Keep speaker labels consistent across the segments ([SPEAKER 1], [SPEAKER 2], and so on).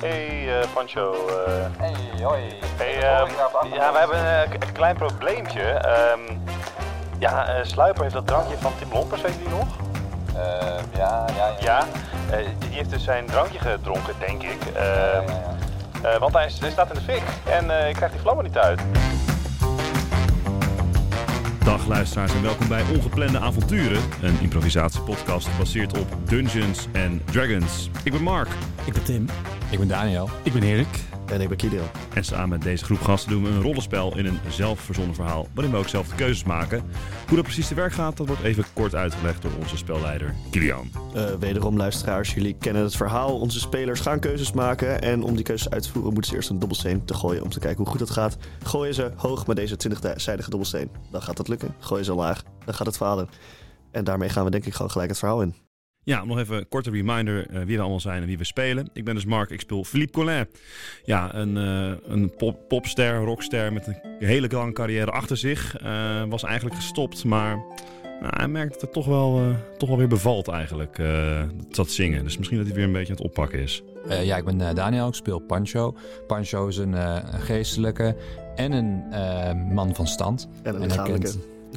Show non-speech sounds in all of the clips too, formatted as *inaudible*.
[SPEAKER 1] Hey eh, Pancho. eh,
[SPEAKER 2] Hey, hoi.
[SPEAKER 1] hey,
[SPEAKER 2] Ik
[SPEAKER 1] eh,
[SPEAKER 2] hoor je daar op de achtergrond.
[SPEAKER 1] ja, we hebben een k- klein probleempje. Ehm, ja, eh, Sluiper heeft dat drankje van Tim Lompers, weet je die nog?
[SPEAKER 2] Ehm, ja, ja, ja.
[SPEAKER 1] Ja, eh, die heeft dus zijn drankje gedronken, denk ik. Ehm,
[SPEAKER 2] Ja, ja, ja.
[SPEAKER 1] eh, want hij, is- hij staat in de fik en eh, ik krijg die vlammen niet uit.
[SPEAKER 3] Dag luisteraars en welkom bij Ongeplande Avonturen, een improvisatiepodcast gebaseerd op Dungeons and Dragons. Ik ben Mark
[SPEAKER 4] Ik ben Tim.
[SPEAKER 5] Ik ben Daniel.
[SPEAKER 4] Ik ben Erik.
[SPEAKER 6] En ik ben Kido.
[SPEAKER 3] en samen met deze groep gasten doen we een rollenspel in een zelfverzonnen verhaal waarin we ook zelf de keuzes maken. Hoe dat precies te werk gaat, dat wordt even kort uitgelegd door onze spelleider Kilian.
[SPEAKER 6] Eh, wederom luisteraars, jullie kennen het verhaal. Onze spelers gaan keuzes maken. En om die keuzes uit te voeren moeten ze eerst een dobbelsteen te gooien om te kijken hoe goed dat gaat. Gooien ze hoog met deze 20-zijdige dobbelsteen, dan gaat dat lukken. Gooien ze laag, dan gaat het falen. En daarmee gaan we denk ik gewoon gelijk het verhaal in.
[SPEAKER 3] Ja, nog even een korte reminder eh, wie we allemaal zijn en wie we spelen. Ik ben dus Mark, ik speel Philippe Collin. Ja, een, eh, een pop popster, rockster met een hele lange carrière achter zich. Eh, was eigenlijk gestopt, maar nou, hij merkt dat het toch wel, eh, toch wel weer bevalt eigenlijk, eh, dat zingen. Dus misschien dat hij weer een beetje aan het oppakken is.
[SPEAKER 5] Eh, ja, ik ben eh, Daniel. Ik speel Pancho. Pancho is een eh, een geestelijke en een eh, man van stand.
[SPEAKER 6] En een
[SPEAKER 5] En hij
[SPEAKER 6] lichamelijke.
[SPEAKER 5] kent, *laughs*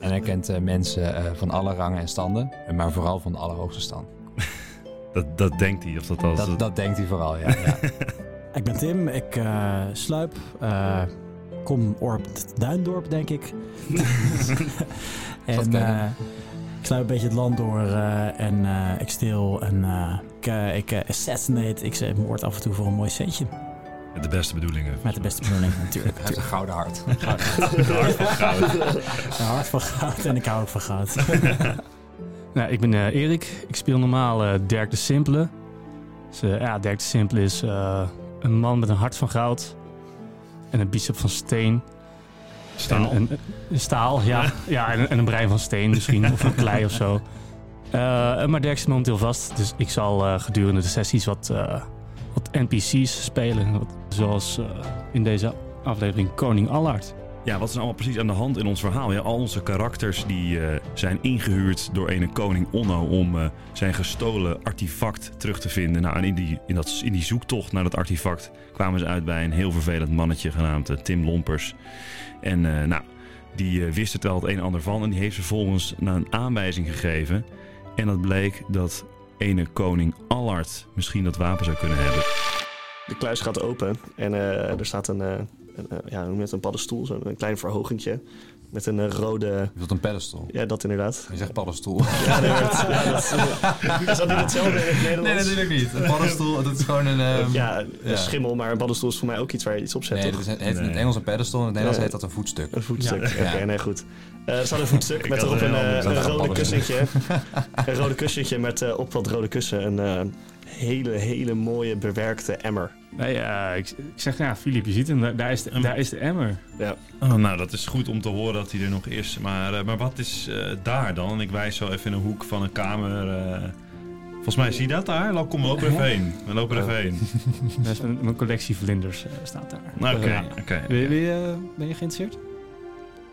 [SPEAKER 5] en hij kent eh, mensen eh, van alle rangen en standen, eh, maar vooral van de allerhoogste stand.
[SPEAKER 3] Dat, dat denkt hij. Of dat, dat,
[SPEAKER 5] Dat, dat denkt hij vooral, ja. ja.
[SPEAKER 4] Ik ben Tim. Ik eh, sluip. eh, kom Orpt Duindorp, denk
[SPEAKER 7] *laughs*
[SPEAKER 4] ik.
[SPEAKER 5] Dat
[SPEAKER 4] en
[SPEAKER 5] ken ik.
[SPEAKER 4] eh, ik sluip een beetje het land door eh, en eh, ik steel en eh, ik, eh, ik eh, assassinate. Ik zet moord af en toe voor een mooi centje.
[SPEAKER 3] Met de beste bedoelingen.
[SPEAKER 4] Met de beste bedoeling *laughs* natuurlijk.
[SPEAKER 5] Hij heeft een gouden hart.
[SPEAKER 4] Een hart van goud en ik hou ook van goud.
[SPEAKER 7] *laughs* Nou, ik ben eh, Erik. Ik speel normaal eh, Dirk de Simpele. Dus, eh, ja, Dirk de Simpele is eh, een man met een hart van goud. En een bicep van steen.
[SPEAKER 3] Staal.
[SPEAKER 7] En een, een staal, ja. ja en, een- en een brein van steen misschien. *laughs* of een klei of zo. Eh, maar Dirk is momenteel vast. Dus ik zal eh, gedurende de sessies wat, eh, wat NPC's spelen. Wat- zoals eh, in deze aflevering Koning Allard.
[SPEAKER 3] Ja, wat is nou allemaal precies aan de hand in ons verhaal? Ja, al onze karakters die eh, zijn ingehuurd door ene koning Onno om eh, zijn gestolen artefact terug te vinden. Nou, en in die, in, dat, in die zoektocht naar dat artefact kwamen ze uit bij een heel vervelend mannetje genaamd eh, Tim Lompers. En eh, nou, die eh, wist het wel het een en ander van en die heeft vervolgens naar een aanwijzing gegeven. En dat bleek dat ene koning Allard misschien dat wapen zou kunnen hebben.
[SPEAKER 6] De kluis gaat open en eh, er staat een, eh, een, eh, ja, hoe noem je het, een paddenstoel, zo'n een klein verhogentje. Met een eh, rode...
[SPEAKER 5] Je wilt een pedestal.
[SPEAKER 6] Ja, dat inderdaad.
[SPEAKER 5] Je zegt paddenstoel.
[SPEAKER 6] Ja, nee, dat, ja, dat *laughs* is, is dat niet hetzelfde in het Nederlands?
[SPEAKER 5] niet. Een paddenstoel, dat is gewoon een... ehm,
[SPEAKER 6] ja, een
[SPEAKER 5] ja.
[SPEAKER 6] schimmel, maar een paddenstoel is voor mij ook iets waar je iets op zet,
[SPEAKER 5] Nee,
[SPEAKER 6] toch?
[SPEAKER 5] dat is- het heet in het
[SPEAKER 3] Nee.
[SPEAKER 5] Engels een pedestal, in het
[SPEAKER 6] Ja.
[SPEAKER 5] Nederlands heet dat een voetstuk.
[SPEAKER 6] Een voetstuk.
[SPEAKER 5] Ja.
[SPEAKER 6] Oké,
[SPEAKER 5] Ja.
[SPEAKER 6] nee, goed. Eh, er staat een voetstuk
[SPEAKER 3] Ik
[SPEAKER 6] met
[SPEAKER 3] had
[SPEAKER 6] erop
[SPEAKER 3] er
[SPEAKER 6] een,
[SPEAKER 3] heel
[SPEAKER 6] eh,
[SPEAKER 3] anders
[SPEAKER 6] een
[SPEAKER 5] aan
[SPEAKER 6] rode
[SPEAKER 5] gedacht.
[SPEAKER 6] kussentje. een rode kussentje met eh, op dat rode kussen een eh, hele, hele mooie bewerkte emmer.
[SPEAKER 7] Nee, eh, ik, ik zeg, ja, Filip, je ziet hem. Daar- Daar is de, daar is de emmer.
[SPEAKER 3] Oh, nou, dat is goed om te horen dat hij er nog is. Maar, eh, maar wat is eh, daar dan? Ik wijs zo even in een hoek van een kamer. eh. Volgens mij zie je dat daar? Nou, kom, we lopen er even heen. We lopen er even heen.
[SPEAKER 7] Daar is mijn, mijn collectie vlinders eh, staat daar.
[SPEAKER 3] Nou, Oké,
[SPEAKER 7] Ja.
[SPEAKER 3] oké.
[SPEAKER 7] Ben, je- ben je, eh, ben je geïnteresseerd?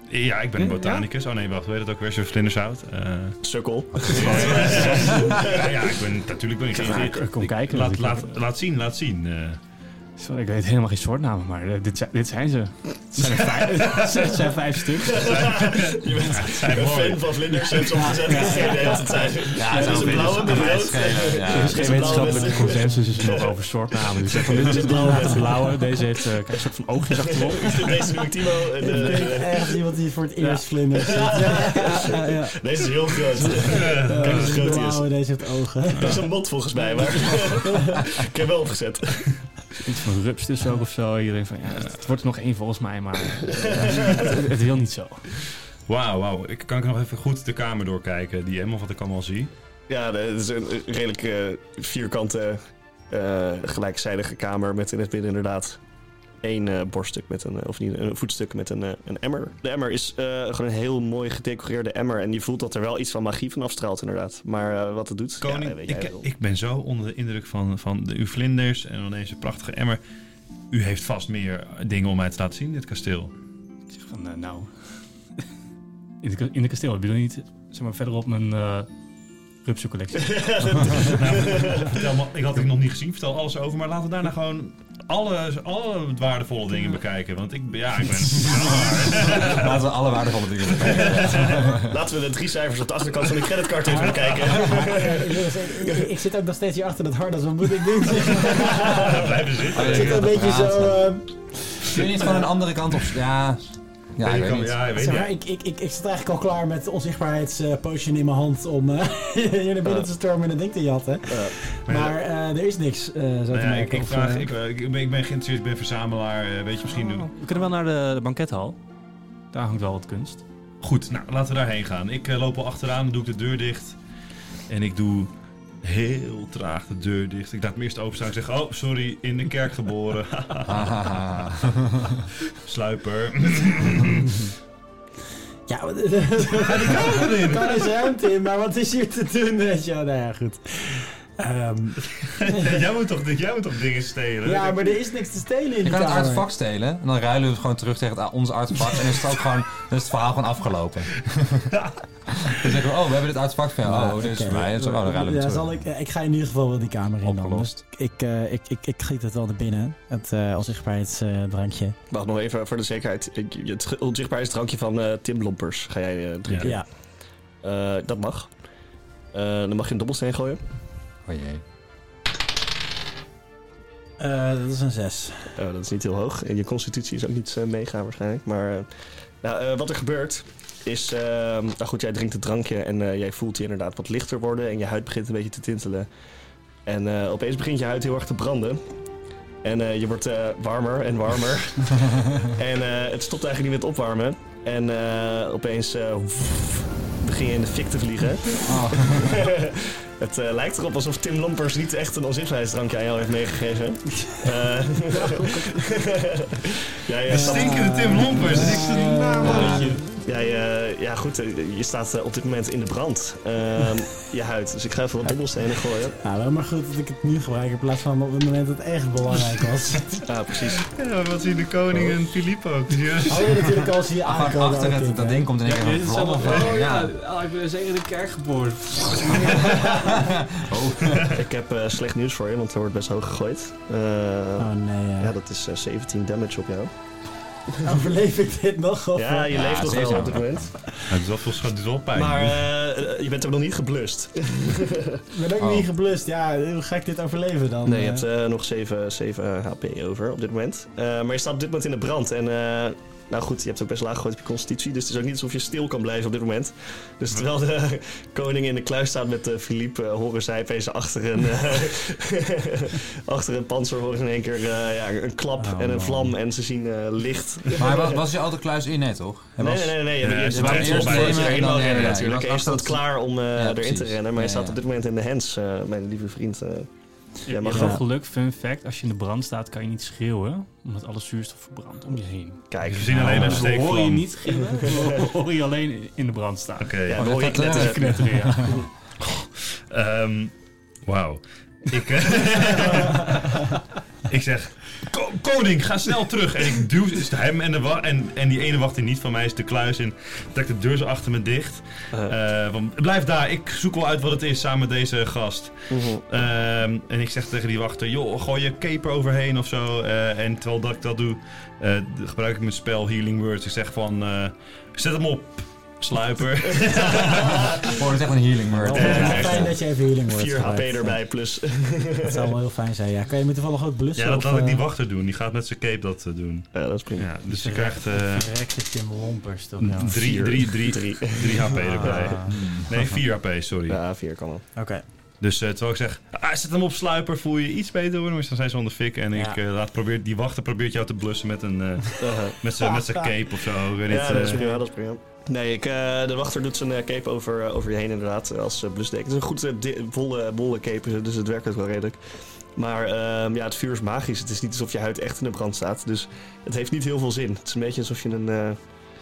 [SPEAKER 3] Ja, ik ben een botanicus. Oh nee, wacht, weet het ook weer? Zo'n vlindershout. Eh,
[SPEAKER 6] Sukkel.
[SPEAKER 3] ja, ja, ik ben, natuurlijk ben ik
[SPEAKER 7] ik, ik
[SPEAKER 3] geïnteresseerd.
[SPEAKER 7] kom kijken. dus
[SPEAKER 3] Laat,
[SPEAKER 7] Ik-
[SPEAKER 3] laat, laat zien, laat zien. eh.
[SPEAKER 7] Sorry, ik weet helemaal geen soortnamen, maar eh, dit, zijn- dit zijn ze. Het zijn er vijf, het zijn- het zijn vijf stuks.
[SPEAKER 6] Je bent
[SPEAKER 3] zijn
[SPEAKER 6] een
[SPEAKER 3] mooi.
[SPEAKER 6] fan van vlinders hebt opgezet. Ik heb geen idee wat het zijn.
[SPEAKER 5] Ja,
[SPEAKER 6] Er is een blauwe met rood.
[SPEAKER 7] *laughs* Er is
[SPEAKER 6] Het is
[SPEAKER 7] geen
[SPEAKER 6] een blauwe
[SPEAKER 7] wetenschappelijke
[SPEAKER 6] met-
[SPEAKER 7] consensus is er nog over soortnamen. Dus van, dit is
[SPEAKER 6] een
[SPEAKER 7] een
[SPEAKER 6] blauwe
[SPEAKER 7] blauwe,
[SPEAKER 6] met-
[SPEAKER 7] blauwe. Deze heeft eh, kijk, een soort van
[SPEAKER 6] *laughs*
[SPEAKER 7] oogjes achterop.
[SPEAKER 6] Deze noem ik Timo. en,
[SPEAKER 4] Ik
[SPEAKER 6] eh,
[SPEAKER 4] denk echt iemand die voor het eerst
[SPEAKER 7] Ja.
[SPEAKER 4] vlinders
[SPEAKER 6] *laughs*
[SPEAKER 4] ziet. Ja, ja, ja.
[SPEAKER 6] Deze is heel groot. Kijk eens hoe groot hij is.
[SPEAKER 4] Blauwe, deze heeft ogen.
[SPEAKER 6] Dat is een bot volgens mij, maar ik heb wel opgezet.
[SPEAKER 7] Iets van rups dus ook of zo. Je denkt van, ja, het, het wordt er nog één volgens mij, maar eh, het, het wil niet zo.
[SPEAKER 3] Wauw, wauw. Ik kan ik nog even goed de kamer doorkijken. Die helemaal wat ik allemaal zie.
[SPEAKER 6] Ja, het is een eh, redelijk eh, vierkante, eh, gelijkzijdige kamer met in het midden inderdaad één eh, borststuk met een, eh, of niet, een voetstuk met een, eh, een emmer. De emmer is eh, gewoon een heel mooi gedecoreerde emmer en je voelt dat er wel iets van magie van afstraalt inderdaad. Maar eh, wat het doet,
[SPEAKER 3] Koning,
[SPEAKER 6] ja, weet jij
[SPEAKER 3] ik,
[SPEAKER 6] wel.
[SPEAKER 3] ik ben zo onder de indruk van, van de, uw vlinders en van deze prachtige emmer. U heeft vast meer dingen om mij te laten zien, dit
[SPEAKER 6] *laughs*
[SPEAKER 3] kasteel.
[SPEAKER 7] Ik zeg van, eh, nou... In de, in de kasteel, ik bedoel niet, zeg maar, verderop mijn eh,
[SPEAKER 8] Rupsje collectie.
[SPEAKER 3] vertel maar, ik had het nog niet gezien, vertel alles over. Maar laten we daarna gewoon alle, alle waardevolle dingen bekijken. Want ik, ja, ik ben...
[SPEAKER 6] *laughs*
[SPEAKER 5] Laten we alle waardevolle dingen bekijken.
[SPEAKER 6] eh, Laten we de drie cijfers op de achterkant van de
[SPEAKER 3] *laughs*
[SPEAKER 6] creditcard even bekijken.
[SPEAKER 9] eh, ik, ik zit ook nog steeds hier achter dat hardas. Wat moet ik doen?
[SPEAKER 5] *laughs*
[SPEAKER 9] ik
[SPEAKER 3] blijven zitten.
[SPEAKER 5] Oh, ja.
[SPEAKER 9] zit een beetje zo... eh,
[SPEAKER 5] Kun je niet gewoon een andere kant op... Ja, ja ik
[SPEAKER 3] Ik
[SPEAKER 5] weet
[SPEAKER 3] kan-
[SPEAKER 5] niet.
[SPEAKER 3] ja, ik weet
[SPEAKER 9] Zeg maar,
[SPEAKER 3] niet.
[SPEAKER 9] ik, ik, ik, ik zit eigenlijk al klaar met onzichtbaarheidspotion in mijn hand om eh, *laughs* hier naar binnen te stormen en een ding te jatten. maar eh, er is niks, eh, zo
[SPEAKER 3] Nou
[SPEAKER 9] te
[SPEAKER 3] ja,
[SPEAKER 9] merken.
[SPEAKER 3] ik, ik,
[SPEAKER 9] Of,
[SPEAKER 3] vraag,
[SPEAKER 9] eh,
[SPEAKER 3] ik, eh, ik, ben, ik ben geïnteresseerd, ik ben verzamelaar, eh, weet je, misschien...
[SPEAKER 6] Oh.
[SPEAKER 3] doen.
[SPEAKER 8] We kunnen wel naar de, de bankethal. Daar hangt wel wat kunst.
[SPEAKER 3] Goed, nou, laten we daarheen gaan. Ik eh, loop al achteraan, dan doe ik de deur dicht. En ik doe heel traag de deur dicht. Ik laat hem eerst openstaan. Ik zeg, oh, sorry, in de kerk geboren. *laughs*
[SPEAKER 5] Hahaha.
[SPEAKER 3] Sluiper. *laughs*
[SPEAKER 9] Ja, wat- *laughs* er kan eens ruimte in, maar wat is hier te doen? Weet je? wel? Nou ja, goed. Ehm,
[SPEAKER 3] jij, moet toch, jij moet toch dingen stelen?
[SPEAKER 9] ja, maar er is niks te stelen in
[SPEAKER 5] Je
[SPEAKER 9] die
[SPEAKER 5] kan het
[SPEAKER 9] kamer.
[SPEAKER 5] artefact stelen en dan ruilen we het gewoon terug tegen het, ons artefact. en is het, ook gewoon, dan is het verhaal gewoon afgelopen. dan zeggen we, oh, we hebben dit artefact van jou. Oh, dit is
[SPEAKER 9] Oké.
[SPEAKER 5] voor mij. En zo, oh, dan ruilen we
[SPEAKER 9] eh, ja,
[SPEAKER 5] het
[SPEAKER 9] zal
[SPEAKER 5] terug.
[SPEAKER 9] ik, eh, ik ga in ieder geval wel die kamer in dan. Dus
[SPEAKER 5] Opgelost.
[SPEAKER 9] ik, eh, ik, ik, ik giet het wel naar binnen, het eh onzichtbaarheidsdrankje.
[SPEAKER 6] Wacht nog even voor de zekerheid. Ik- Het onzichtbaarheidsdrankje van eh, Tim Lompers ga jij eh, drinken.
[SPEAKER 9] ja.
[SPEAKER 6] Eh, dat mag. Eh, dan mag je een dobbelsteen gooien.
[SPEAKER 5] Oh jee.
[SPEAKER 9] Eh, dat is een 6.
[SPEAKER 6] Eh, dat is niet heel hoog. En je constitutie is ook niet eh, mega waarschijnlijk. Maar eh, nou, eh, wat er gebeurt is... eh, nou goed, jij drinkt het drankje en eh, jij voelt je inderdaad wat lichter worden. En je huid begint een beetje te tintelen. En eh, opeens begint je huid heel erg te branden. En eh, je wordt eh, warmer en warmer. en eh, het stopt eigenlijk niet met opwarmen. En eh, opeens eh begin je in de fik te vliegen.
[SPEAKER 5] Oh.
[SPEAKER 6] *laughs* het eh, lijkt erop alsof Tim Lampers niet echt een onzichtbaarheidsdrankje aan jou heeft meegegeven. Eh, *laughs* jij, eh, stapt-
[SPEAKER 3] Stinkende Tim Lompers. Ik zit niet na, mannetje.
[SPEAKER 6] jij, eh, ja, goed, eh, je staat eh, op dit moment in de brand. Ehm, je huid. Dus ik ga even wat dobbelstenen gooien.
[SPEAKER 9] Nou, wel maar goed dat ik het nu gebruik in plaats van op het moment dat het echt belangrijk was.
[SPEAKER 5] *laughs*
[SPEAKER 6] Ja, precies.
[SPEAKER 3] Ja, "Nou, wat zien de koning en Filip *laughs* ook?
[SPEAKER 9] Oh ja, natuurlijk als hij
[SPEAKER 5] Gewoon
[SPEAKER 9] aankomen.
[SPEAKER 5] achter het, dat ding komt in één keer een vlam of zo. Ja.
[SPEAKER 7] ik ben zeker in de kerk geboren.
[SPEAKER 6] Ik heb eh, slecht nieuws voor je, want er wordt best hoog gegooid. Eh,
[SPEAKER 9] Oh nee, eh.
[SPEAKER 6] Ja, dat is eh, 17 damage op jou.
[SPEAKER 9] *laughs* overleef ik dit nog? Of, eh,
[SPEAKER 6] Ja, je
[SPEAKER 5] Ja,
[SPEAKER 6] leeft nog wel
[SPEAKER 5] zeker.
[SPEAKER 6] op dit moment.
[SPEAKER 3] Het is wel veel schat, het is wel pijn.
[SPEAKER 6] Maar eh, je bent hem nog niet geblust.
[SPEAKER 9] ben ook
[SPEAKER 5] Oh.
[SPEAKER 9] niet geblust. Ja, hoe ga ik dit overleven dan?
[SPEAKER 6] Nee, je
[SPEAKER 9] Eh,
[SPEAKER 6] hebt eh, nog 7, 7 HP over op dit moment. Eh, maar je staat op dit moment in de brand. En eh, nou goed, je hebt ook best laag gegooid op je constitutie. Dus het is ook niet alsof je stil kan blijven op dit moment. Dus terwijl de *laughs* koning in de kluis staat met eh, Philippe, eh, horen zij opeens achter een, eh, *laughs* achter een panzer horen ze in één keer eh, ja, een klap en een vlam. En ze zien eh, licht.
[SPEAKER 5] Maar was, was je altijd kluis in, nee toch? Hij
[SPEAKER 6] Nee,
[SPEAKER 5] was-
[SPEAKER 6] nee, nee. nee,
[SPEAKER 3] Ja,
[SPEAKER 6] je-
[SPEAKER 3] ze
[SPEAKER 6] je
[SPEAKER 3] waren
[SPEAKER 6] bent
[SPEAKER 3] eerst
[SPEAKER 6] op- je
[SPEAKER 5] nemen
[SPEAKER 6] bent
[SPEAKER 5] en
[SPEAKER 6] helemaal
[SPEAKER 5] dan- ja,
[SPEAKER 6] rennen
[SPEAKER 5] ja, ja.
[SPEAKER 6] natuurlijk.
[SPEAKER 5] Je
[SPEAKER 6] Hij
[SPEAKER 5] was
[SPEAKER 6] staat
[SPEAKER 5] afstand-
[SPEAKER 6] klaar om eh,
[SPEAKER 5] Ja,
[SPEAKER 6] erin te
[SPEAKER 5] precies.
[SPEAKER 6] rennen. Maar je
[SPEAKER 5] Ja,
[SPEAKER 6] staat
[SPEAKER 5] ja.
[SPEAKER 6] op dit moment in de hands, eh, mijn lieve vriend. eh. jij
[SPEAKER 8] Maar
[SPEAKER 6] mag
[SPEAKER 8] gewoon
[SPEAKER 9] Ja.
[SPEAKER 8] geluk, fun fact, als je in de brand staat kan je niet schreeuwen, omdat alle zuurstof verbrandt om je heen.
[SPEAKER 6] Kijk,
[SPEAKER 3] We zien alleen een
[SPEAKER 8] Dus we hoor je
[SPEAKER 3] steekvlam. Oké,
[SPEAKER 8] niet gillen, we hoor je alleen in de brand staan.
[SPEAKER 6] ja,
[SPEAKER 5] Oh,
[SPEAKER 6] dan hoor je
[SPEAKER 5] dat- dat-
[SPEAKER 6] knetteren.
[SPEAKER 8] Knetteren, ja.
[SPEAKER 3] Ehm, Wauw. Ik, eh, *laughs* ik zeg, "Ko- koning, ga snel terug. En ik duw is het hem en, de wa- en, en die ene wacht die niet van mij is de kluis in. Trek de deur zo achter me dicht. Eh, van, blijf daar, ik zoek wel uit wat het is samen met deze gast.
[SPEAKER 6] Mhm.
[SPEAKER 3] Ehm, en ik zeg tegen die wachter, joh, gooi je cape overheen of zo. Eh, en terwijl dat ik dat doe, eh, gebruik ik mijn spel Healing Words. Ik zeg van, eh, zet hem op, sluiper.
[SPEAKER 5] Oh, dat is echt een healing
[SPEAKER 9] wel
[SPEAKER 5] word.
[SPEAKER 9] fijn dat je even healing wordt.
[SPEAKER 6] 4 HP
[SPEAKER 9] gebruikt.
[SPEAKER 6] erbij plus.
[SPEAKER 9] Dat zou wel heel fijn zijn. Ja, kan je me toevallig ook
[SPEAKER 3] *laughs*
[SPEAKER 9] blussen?
[SPEAKER 3] ja, dat
[SPEAKER 9] of,
[SPEAKER 3] laat ik die
[SPEAKER 9] eh,
[SPEAKER 3] wachter doen. Die gaat met zijn cape dat eh, doen.
[SPEAKER 6] *laughs* Ja, dat is prima.
[SPEAKER 3] Ja, dus je krijgt... eh,
[SPEAKER 9] Verrekte Tim Lompers toch? nou?
[SPEAKER 3] Drie, drie, drie,
[SPEAKER 6] Drie.
[SPEAKER 3] drie HP erbij.
[SPEAKER 9] Ah,
[SPEAKER 3] Nee, 4 HP, sorry.
[SPEAKER 6] Ja, 4 kan wel.
[SPEAKER 9] Oké.
[SPEAKER 3] *laughs* Dus eh, terwijl ik zeg, ah, zet hem op sluiper, voel je je iets beter worden. Maar dan zijn ze onder fik en
[SPEAKER 9] Ja.
[SPEAKER 3] ik eh, laat probeer, die wachter probeert jou te blussen met een eh,
[SPEAKER 6] Uh-huh.
[SPEAKER 3] met zijn met zijn cape of zo. Ik weet niet,
[SPEAKER 6] ja, dat is
[SPEAKER 3] eh,
[SPEAKER 6] prima, dat is prima. Nee, ik, eh, de wachter doet zijn eh, cape over, eh, over je heen inderdaad, eh, als eh, blusdek. Het is een goed eh, di- bolle, bolle cape, dus het werkt ook wel redelijk. Maar ehm, ja, het vuur is magisch. Het is niet alsof je huid echt in de brand staat. Dus het heeft niet heel veel zin. Het is een beetje alsof je een... eh,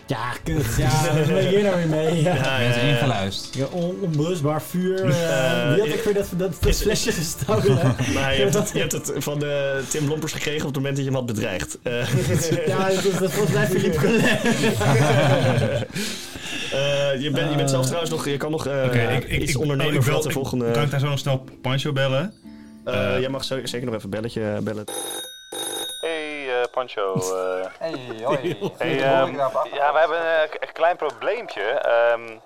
[SPEAKER 9] Ja, kut. Ja, wat ben je hier nou weer
[SPEAKER 5] *laughs*
[SPEAKER 9] mee? Ja.
[SPEAKER 6] ja,
[SPEAKER 5] Mensen
[SPEAKER 6] ja, ja.
[SPEAKER 5] ingeluisterd.
[SPEAKER 9] Ja, on- onblusbaar vuur. eh,
[SPEAKER 6] Eh,
[SPEAKER 9] Wie had ik weer dat, dat, dat
[SPEAKER 6] is-
[SPEAKER 9] flesje gestolen?
[SPEAKER 6] Maar je hebt, het, je hebt het van eh, Tim Lompers gekregen op het moment dat je hem had
[SPEAKER 9] *laughs*
[SPEAKER 6] bedreigd. Eh,
[SPEAKER 9] ja, dat, dat volgens mij Philippe Collet.
[SPEAKER 6] *laughs* Eh, je, bent je bent zelfs trouwens nog... Je kan nog eh, iets ondernemen
[SPEAKER 3] ik
[SPEAKER 6] voor
[SPEAKER 3] bel-
[SPEAKER 6] de
[SPEAKER 3] ik-
[SPEAKER 6] volgende...
[SPEAKER 3] Kan ik daar zo nog snel Pancho bellen?
[SPEAKER 6] Eh, jij mag zo- zeker nog even belletje eh, bellen.
[SPEAKER 1] Hey eh, Pancho. eh,
[SPEAKER 2] Hey, hoi.
[SPEAKER 1] hey,
[SPEAKER 2] Hoor
[SPEAKER 1] ehm,
[SPEAKER 2] ik daar op af-
[SPEAKER 1] ja, we hebben een eh, k- klein probleempje. Ehm,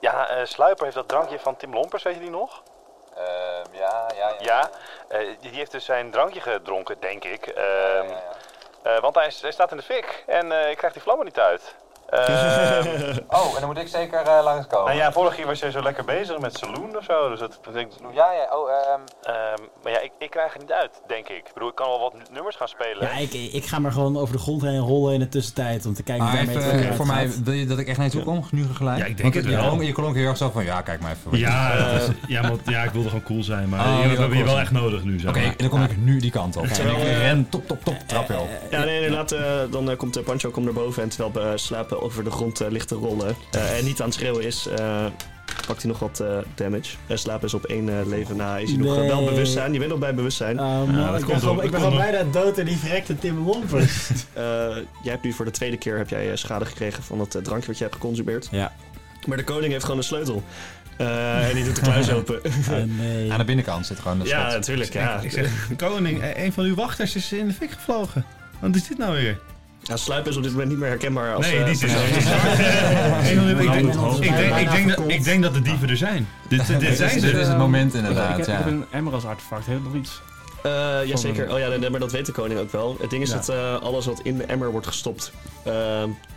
[SPEAKER 1] ja, eh, Sluiper heeft dat drankje van Tim Lompers, weet je die nog?
[SPEAKER 2] Ehm, ja, ja,
[SPEAKER 1] Ja,
[SPEAKER 2] ja.
[SPEAKER 1] eh, die die heeft dus zijn drankje gedronken, denk ik. Ehm,
[SPEAKER 2] ja,
[SPEAKER 1] eh, want hij, is- hij staat in de fik en eh, ik krijg die vlammen niet uit. Ehm,
[SPEAKER 6] *laughs*
[SPEAKER 2] Oh, en dan moet ik zeker eh, langskomen.
[SPEAKER 1] nou ja, vorig jaar was jij zo lekker bezig met saloon of zo. Dus dat, dat ik,
[SPEAKER 2] Ja, ja, oh, ehm,
[SPEAKER 1] ehm, maar ja, ik, ik krijg het niet uit, denk ik. Ik bedoel, ik kan wel wat nu- nummers gaan spelen.
[SPEAKER 9] Ja, ik, ik ga maar gewoon over de grond heen rollen in de tussentijd om te kijken
[SPEAKER 5] Maar
[SPEAKER 9] hoe
[SPEAKER 5] even,
[SPEAKER 9] daarmee
[SPEAKER 5] eh, voor mij, wil je dat ik echt naar je toe kom? Nu gelijk?
[SPEAKER 3] Ja, ik denk
[SPEAKER 5] Want
[SPEAKER 3] het
[SPEAKER 5] je
[SPEAKER 3] wel.
[SPEAKER 5] klonk- Je klonk heel erg zo van, ja, kijk maar even. Oké,
[SPEAKER 3] Ja, dat is- ja, want, ja, ik wilde gewoon cool zijn, maar
[SPEAKER 5] Oh,
[SPEAKER 3] je-
[SPEAKER 5] je
[SPEAKER 3] we
[SPEAKER 5] wil
[SPEAKER 3] hebben je
[SPEAKER 5] cool
[SPEAKER 3] wel
[SPEAKER 5] zijn.
[SPEAKER 3] echt nodig nu. Zeg maar.
[SPEAKER 5] dan kom ik nu die kant op. En ik
[SPEAKER 6] Terwijl, eh,
[SPEAKER 5] ren, top, top, top, trap wel.
[SPEAKER 6] Ja, nee, nee, laat, eh, dan eh, komt eh, Pancho komt naar boven en terwijl we eh, slapen over de grond eh, ligt te rollen eh, en niet aan het schreeuwen is, eh, pakt hij nog wat eh, damage. Eh slapen is op één eh, leven na, is hij nog eh, wel
[SPEAKER 9] Nee.
[SPEAKER 6] bewustzijn, je bent nog bij bewustzijn.
[SPEAKER 9] Oh man,
[SPEAKER 3] dat
[SPEAKER 9] ik
[SPEAKER 3] komt
[SPEAKER 9] ben, gewoon,
[SPEAKER 3] door-
[SPEAKER 9] ik ben
[SPEAKER 3] dat
[SPEAKER 9] gewoon
[SPEAKER 3] komt
[SPEAKER 9] bijna dood en die verrekte Tim Lompers.
[SPEAKER 6] Eh, jij hebt nu voor de tweede keer heb jij, eh, schade gekregen van dat eh, drankje wat je hebt geconsumeerd.
[SPEAKER 9] Ja.
[SPEAKER 6] Maar de koning heeft gewoon een sleutel. Eh, en die doet de kluis open.
[SPEAKER 9] Ah, nee.
[SPEAKER 5] Aan de binnenkant zit gewoon de
[SPEAKER 6] ja,
[SPEAKER 5] schot.
[SPEAKER 6] natuurlijk. Ja.
[SPEAKER 3] Ik zeg, koning, eh, een van uw wachters is in de fik gevlogen. Wat is dit nou weer?
[SPEAKER 6] Ja, sluipen is op dit moment niet meer herkenbaar als...
[SPEAKER 3] Nee,
[SPEAKER 6] eh,
[SPEAKER 3] die dus- zit
[SPEAKER 6] persoon.
[SPEAKER 3] Ik denk- ik denk- ik denk
[SPEAKER 6] *laughs*
[SPEAKER 9] Ik ben
[SPEAKER 3] dat-
[SPEAKER 9] verkocht.
[SPEAKER 3] Ik denk dat de dieven er zijn. Dit, dit,
[SPEAKER 5] Dit
[SPEAKER 3] zijn
[SPEAKER 5] is, dit is
[SPEAKER 3] ze.
[SPEAKER 5] het moment
[SPEAKER 8] ik,
[SPEAKER 5] inderdaad,
[SPEAKER 8] heb-
[SPEAKER 5] ja.
[SPEAKER 8] ik heb een emmer als artefact, heel nog iets.
[SPEAKER 6] Eh, Jazeker.
[SPEAKER 8] een-
[SPEAKER 6] Oh ja, nee, nee, maar dat weet de koning ook wel. Het ding is
[SPEAKER 8] Ja.
[SPEAKER 6] dat eh, alles wat in de emmer wordt gestopt eh,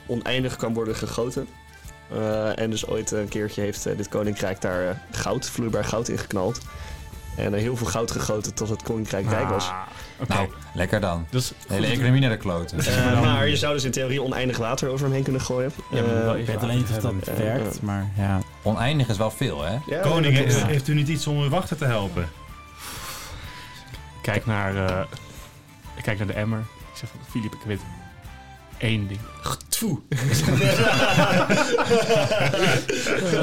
[SPEAKER 6] oneindig kan worden gegoten. Eh, en dus ooit een keertje heeft eh, dit koninkrijk daar eh, goud, vloeibaar goud in geknald. En eh, heel veel goud gegoten tot het koninkrijk rijk was.
[SPEAKER 8] Ah, Oké,
[SPEAKER 5] Nou, lekker dan.
[SPEAKER 8] dus
[SPEAKER 5] De hele economie naar de kloten.
[SPEAKER 6] Eh, maar je zou dus in theorie oneindig water over hem heen kunnen gooien.
[SPEAKER 8] Ja, maar
[SPEAKER 6] Eh,
[SPEAKER 8] wel even
[SPEAKER 9] Ik weet
[SPEAKER 8] water
[SPEAKER 9] alleen niet of
[SPEAKER 8] hebben.
[SPEAKER 9] dat
[SPEAKER 6] hebben.
[SPEAKER 9] werkt, maar ja.
[SPEAKER 5] Oneindig is wel veel, hè?
[SPEAKER 6] ja,
[SPEAKER 3] Koning,
[SPEAKER 6] dat
[SPEAKER 3] he-
[SPEAKER 6] klopt.
[SPEAKER 3] heeft u niet iets om uw wachter te
[SPEAKER 5] *laughs*
[SPEAKER 3] helpen?
[SPEAKER 8] Kijk naar, eh, ik kijk naar de emmer. Ik zeg van, Filip, ik weet één ding. Eh,
[SPEAKER 6] Tfoe.
[SPEAKER 8] Dat is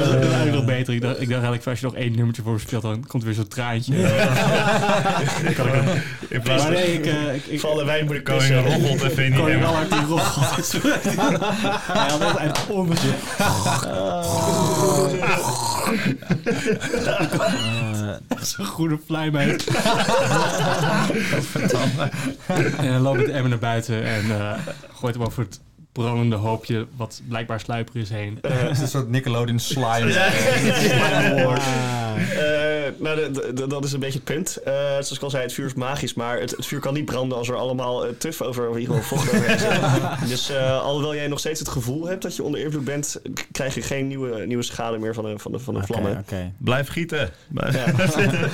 [SPEAKER 8] eigenlijk nog beter. Ik dacht, ik dacht eigenlijk, als je nog één nummertje voor me speelt, dan komt er weer zo'n traantje.
[SPEAKER 3] In plaats
[SPEAKER 8] Maar
[SPEAKER 3] van
[SPEAKER 8] nee, ik, eh, ik, ik,
[SPEAKER 6] Vallen wij moet
[SPEAKER 3] de
[SPEAKER 6] ik
[SPEAKER 3] koning een roggelt en vindt niet
[SPEAKER 8] Kon je
[SPEAKER 3] hem.
[SPEAKER 8] wel uit die rol gehad. Hij had altijd een onbezicht. Dat is een goede fly, meid. en dan loopt de emmer naar buiten en eh, gooit hem over het brandende hoopje, wat blijkbaar sluiper is, heen.
[SPEAKER 5] Het is een soort Nickelodeon slime.
[SPEAKER 9] Ah,
[SPEAKER 6] Eh, nou, de- de- de- dat is een beetje het punt. Eh, zoals ik al zei, het vuur is magisch, maar het, het vuur kan niet branden als er allemaal eh, tuf over, of in ieder geval vocht overheen zit.
[SPEAKER 9] *laughs*
[SPEAKER 6] Dus eh, alhoewel jij nog steeds het gevoel hebt dat je onder invloed bent, k- krijg je geen nieuwe, nieuwe schade meer van de, van de, van de vlammen.
[SPEAKER 9] Ah, Oké,
[SPEAKER 3] Blijf gieten.
[SPEAKER 5] Maar, eh, eh,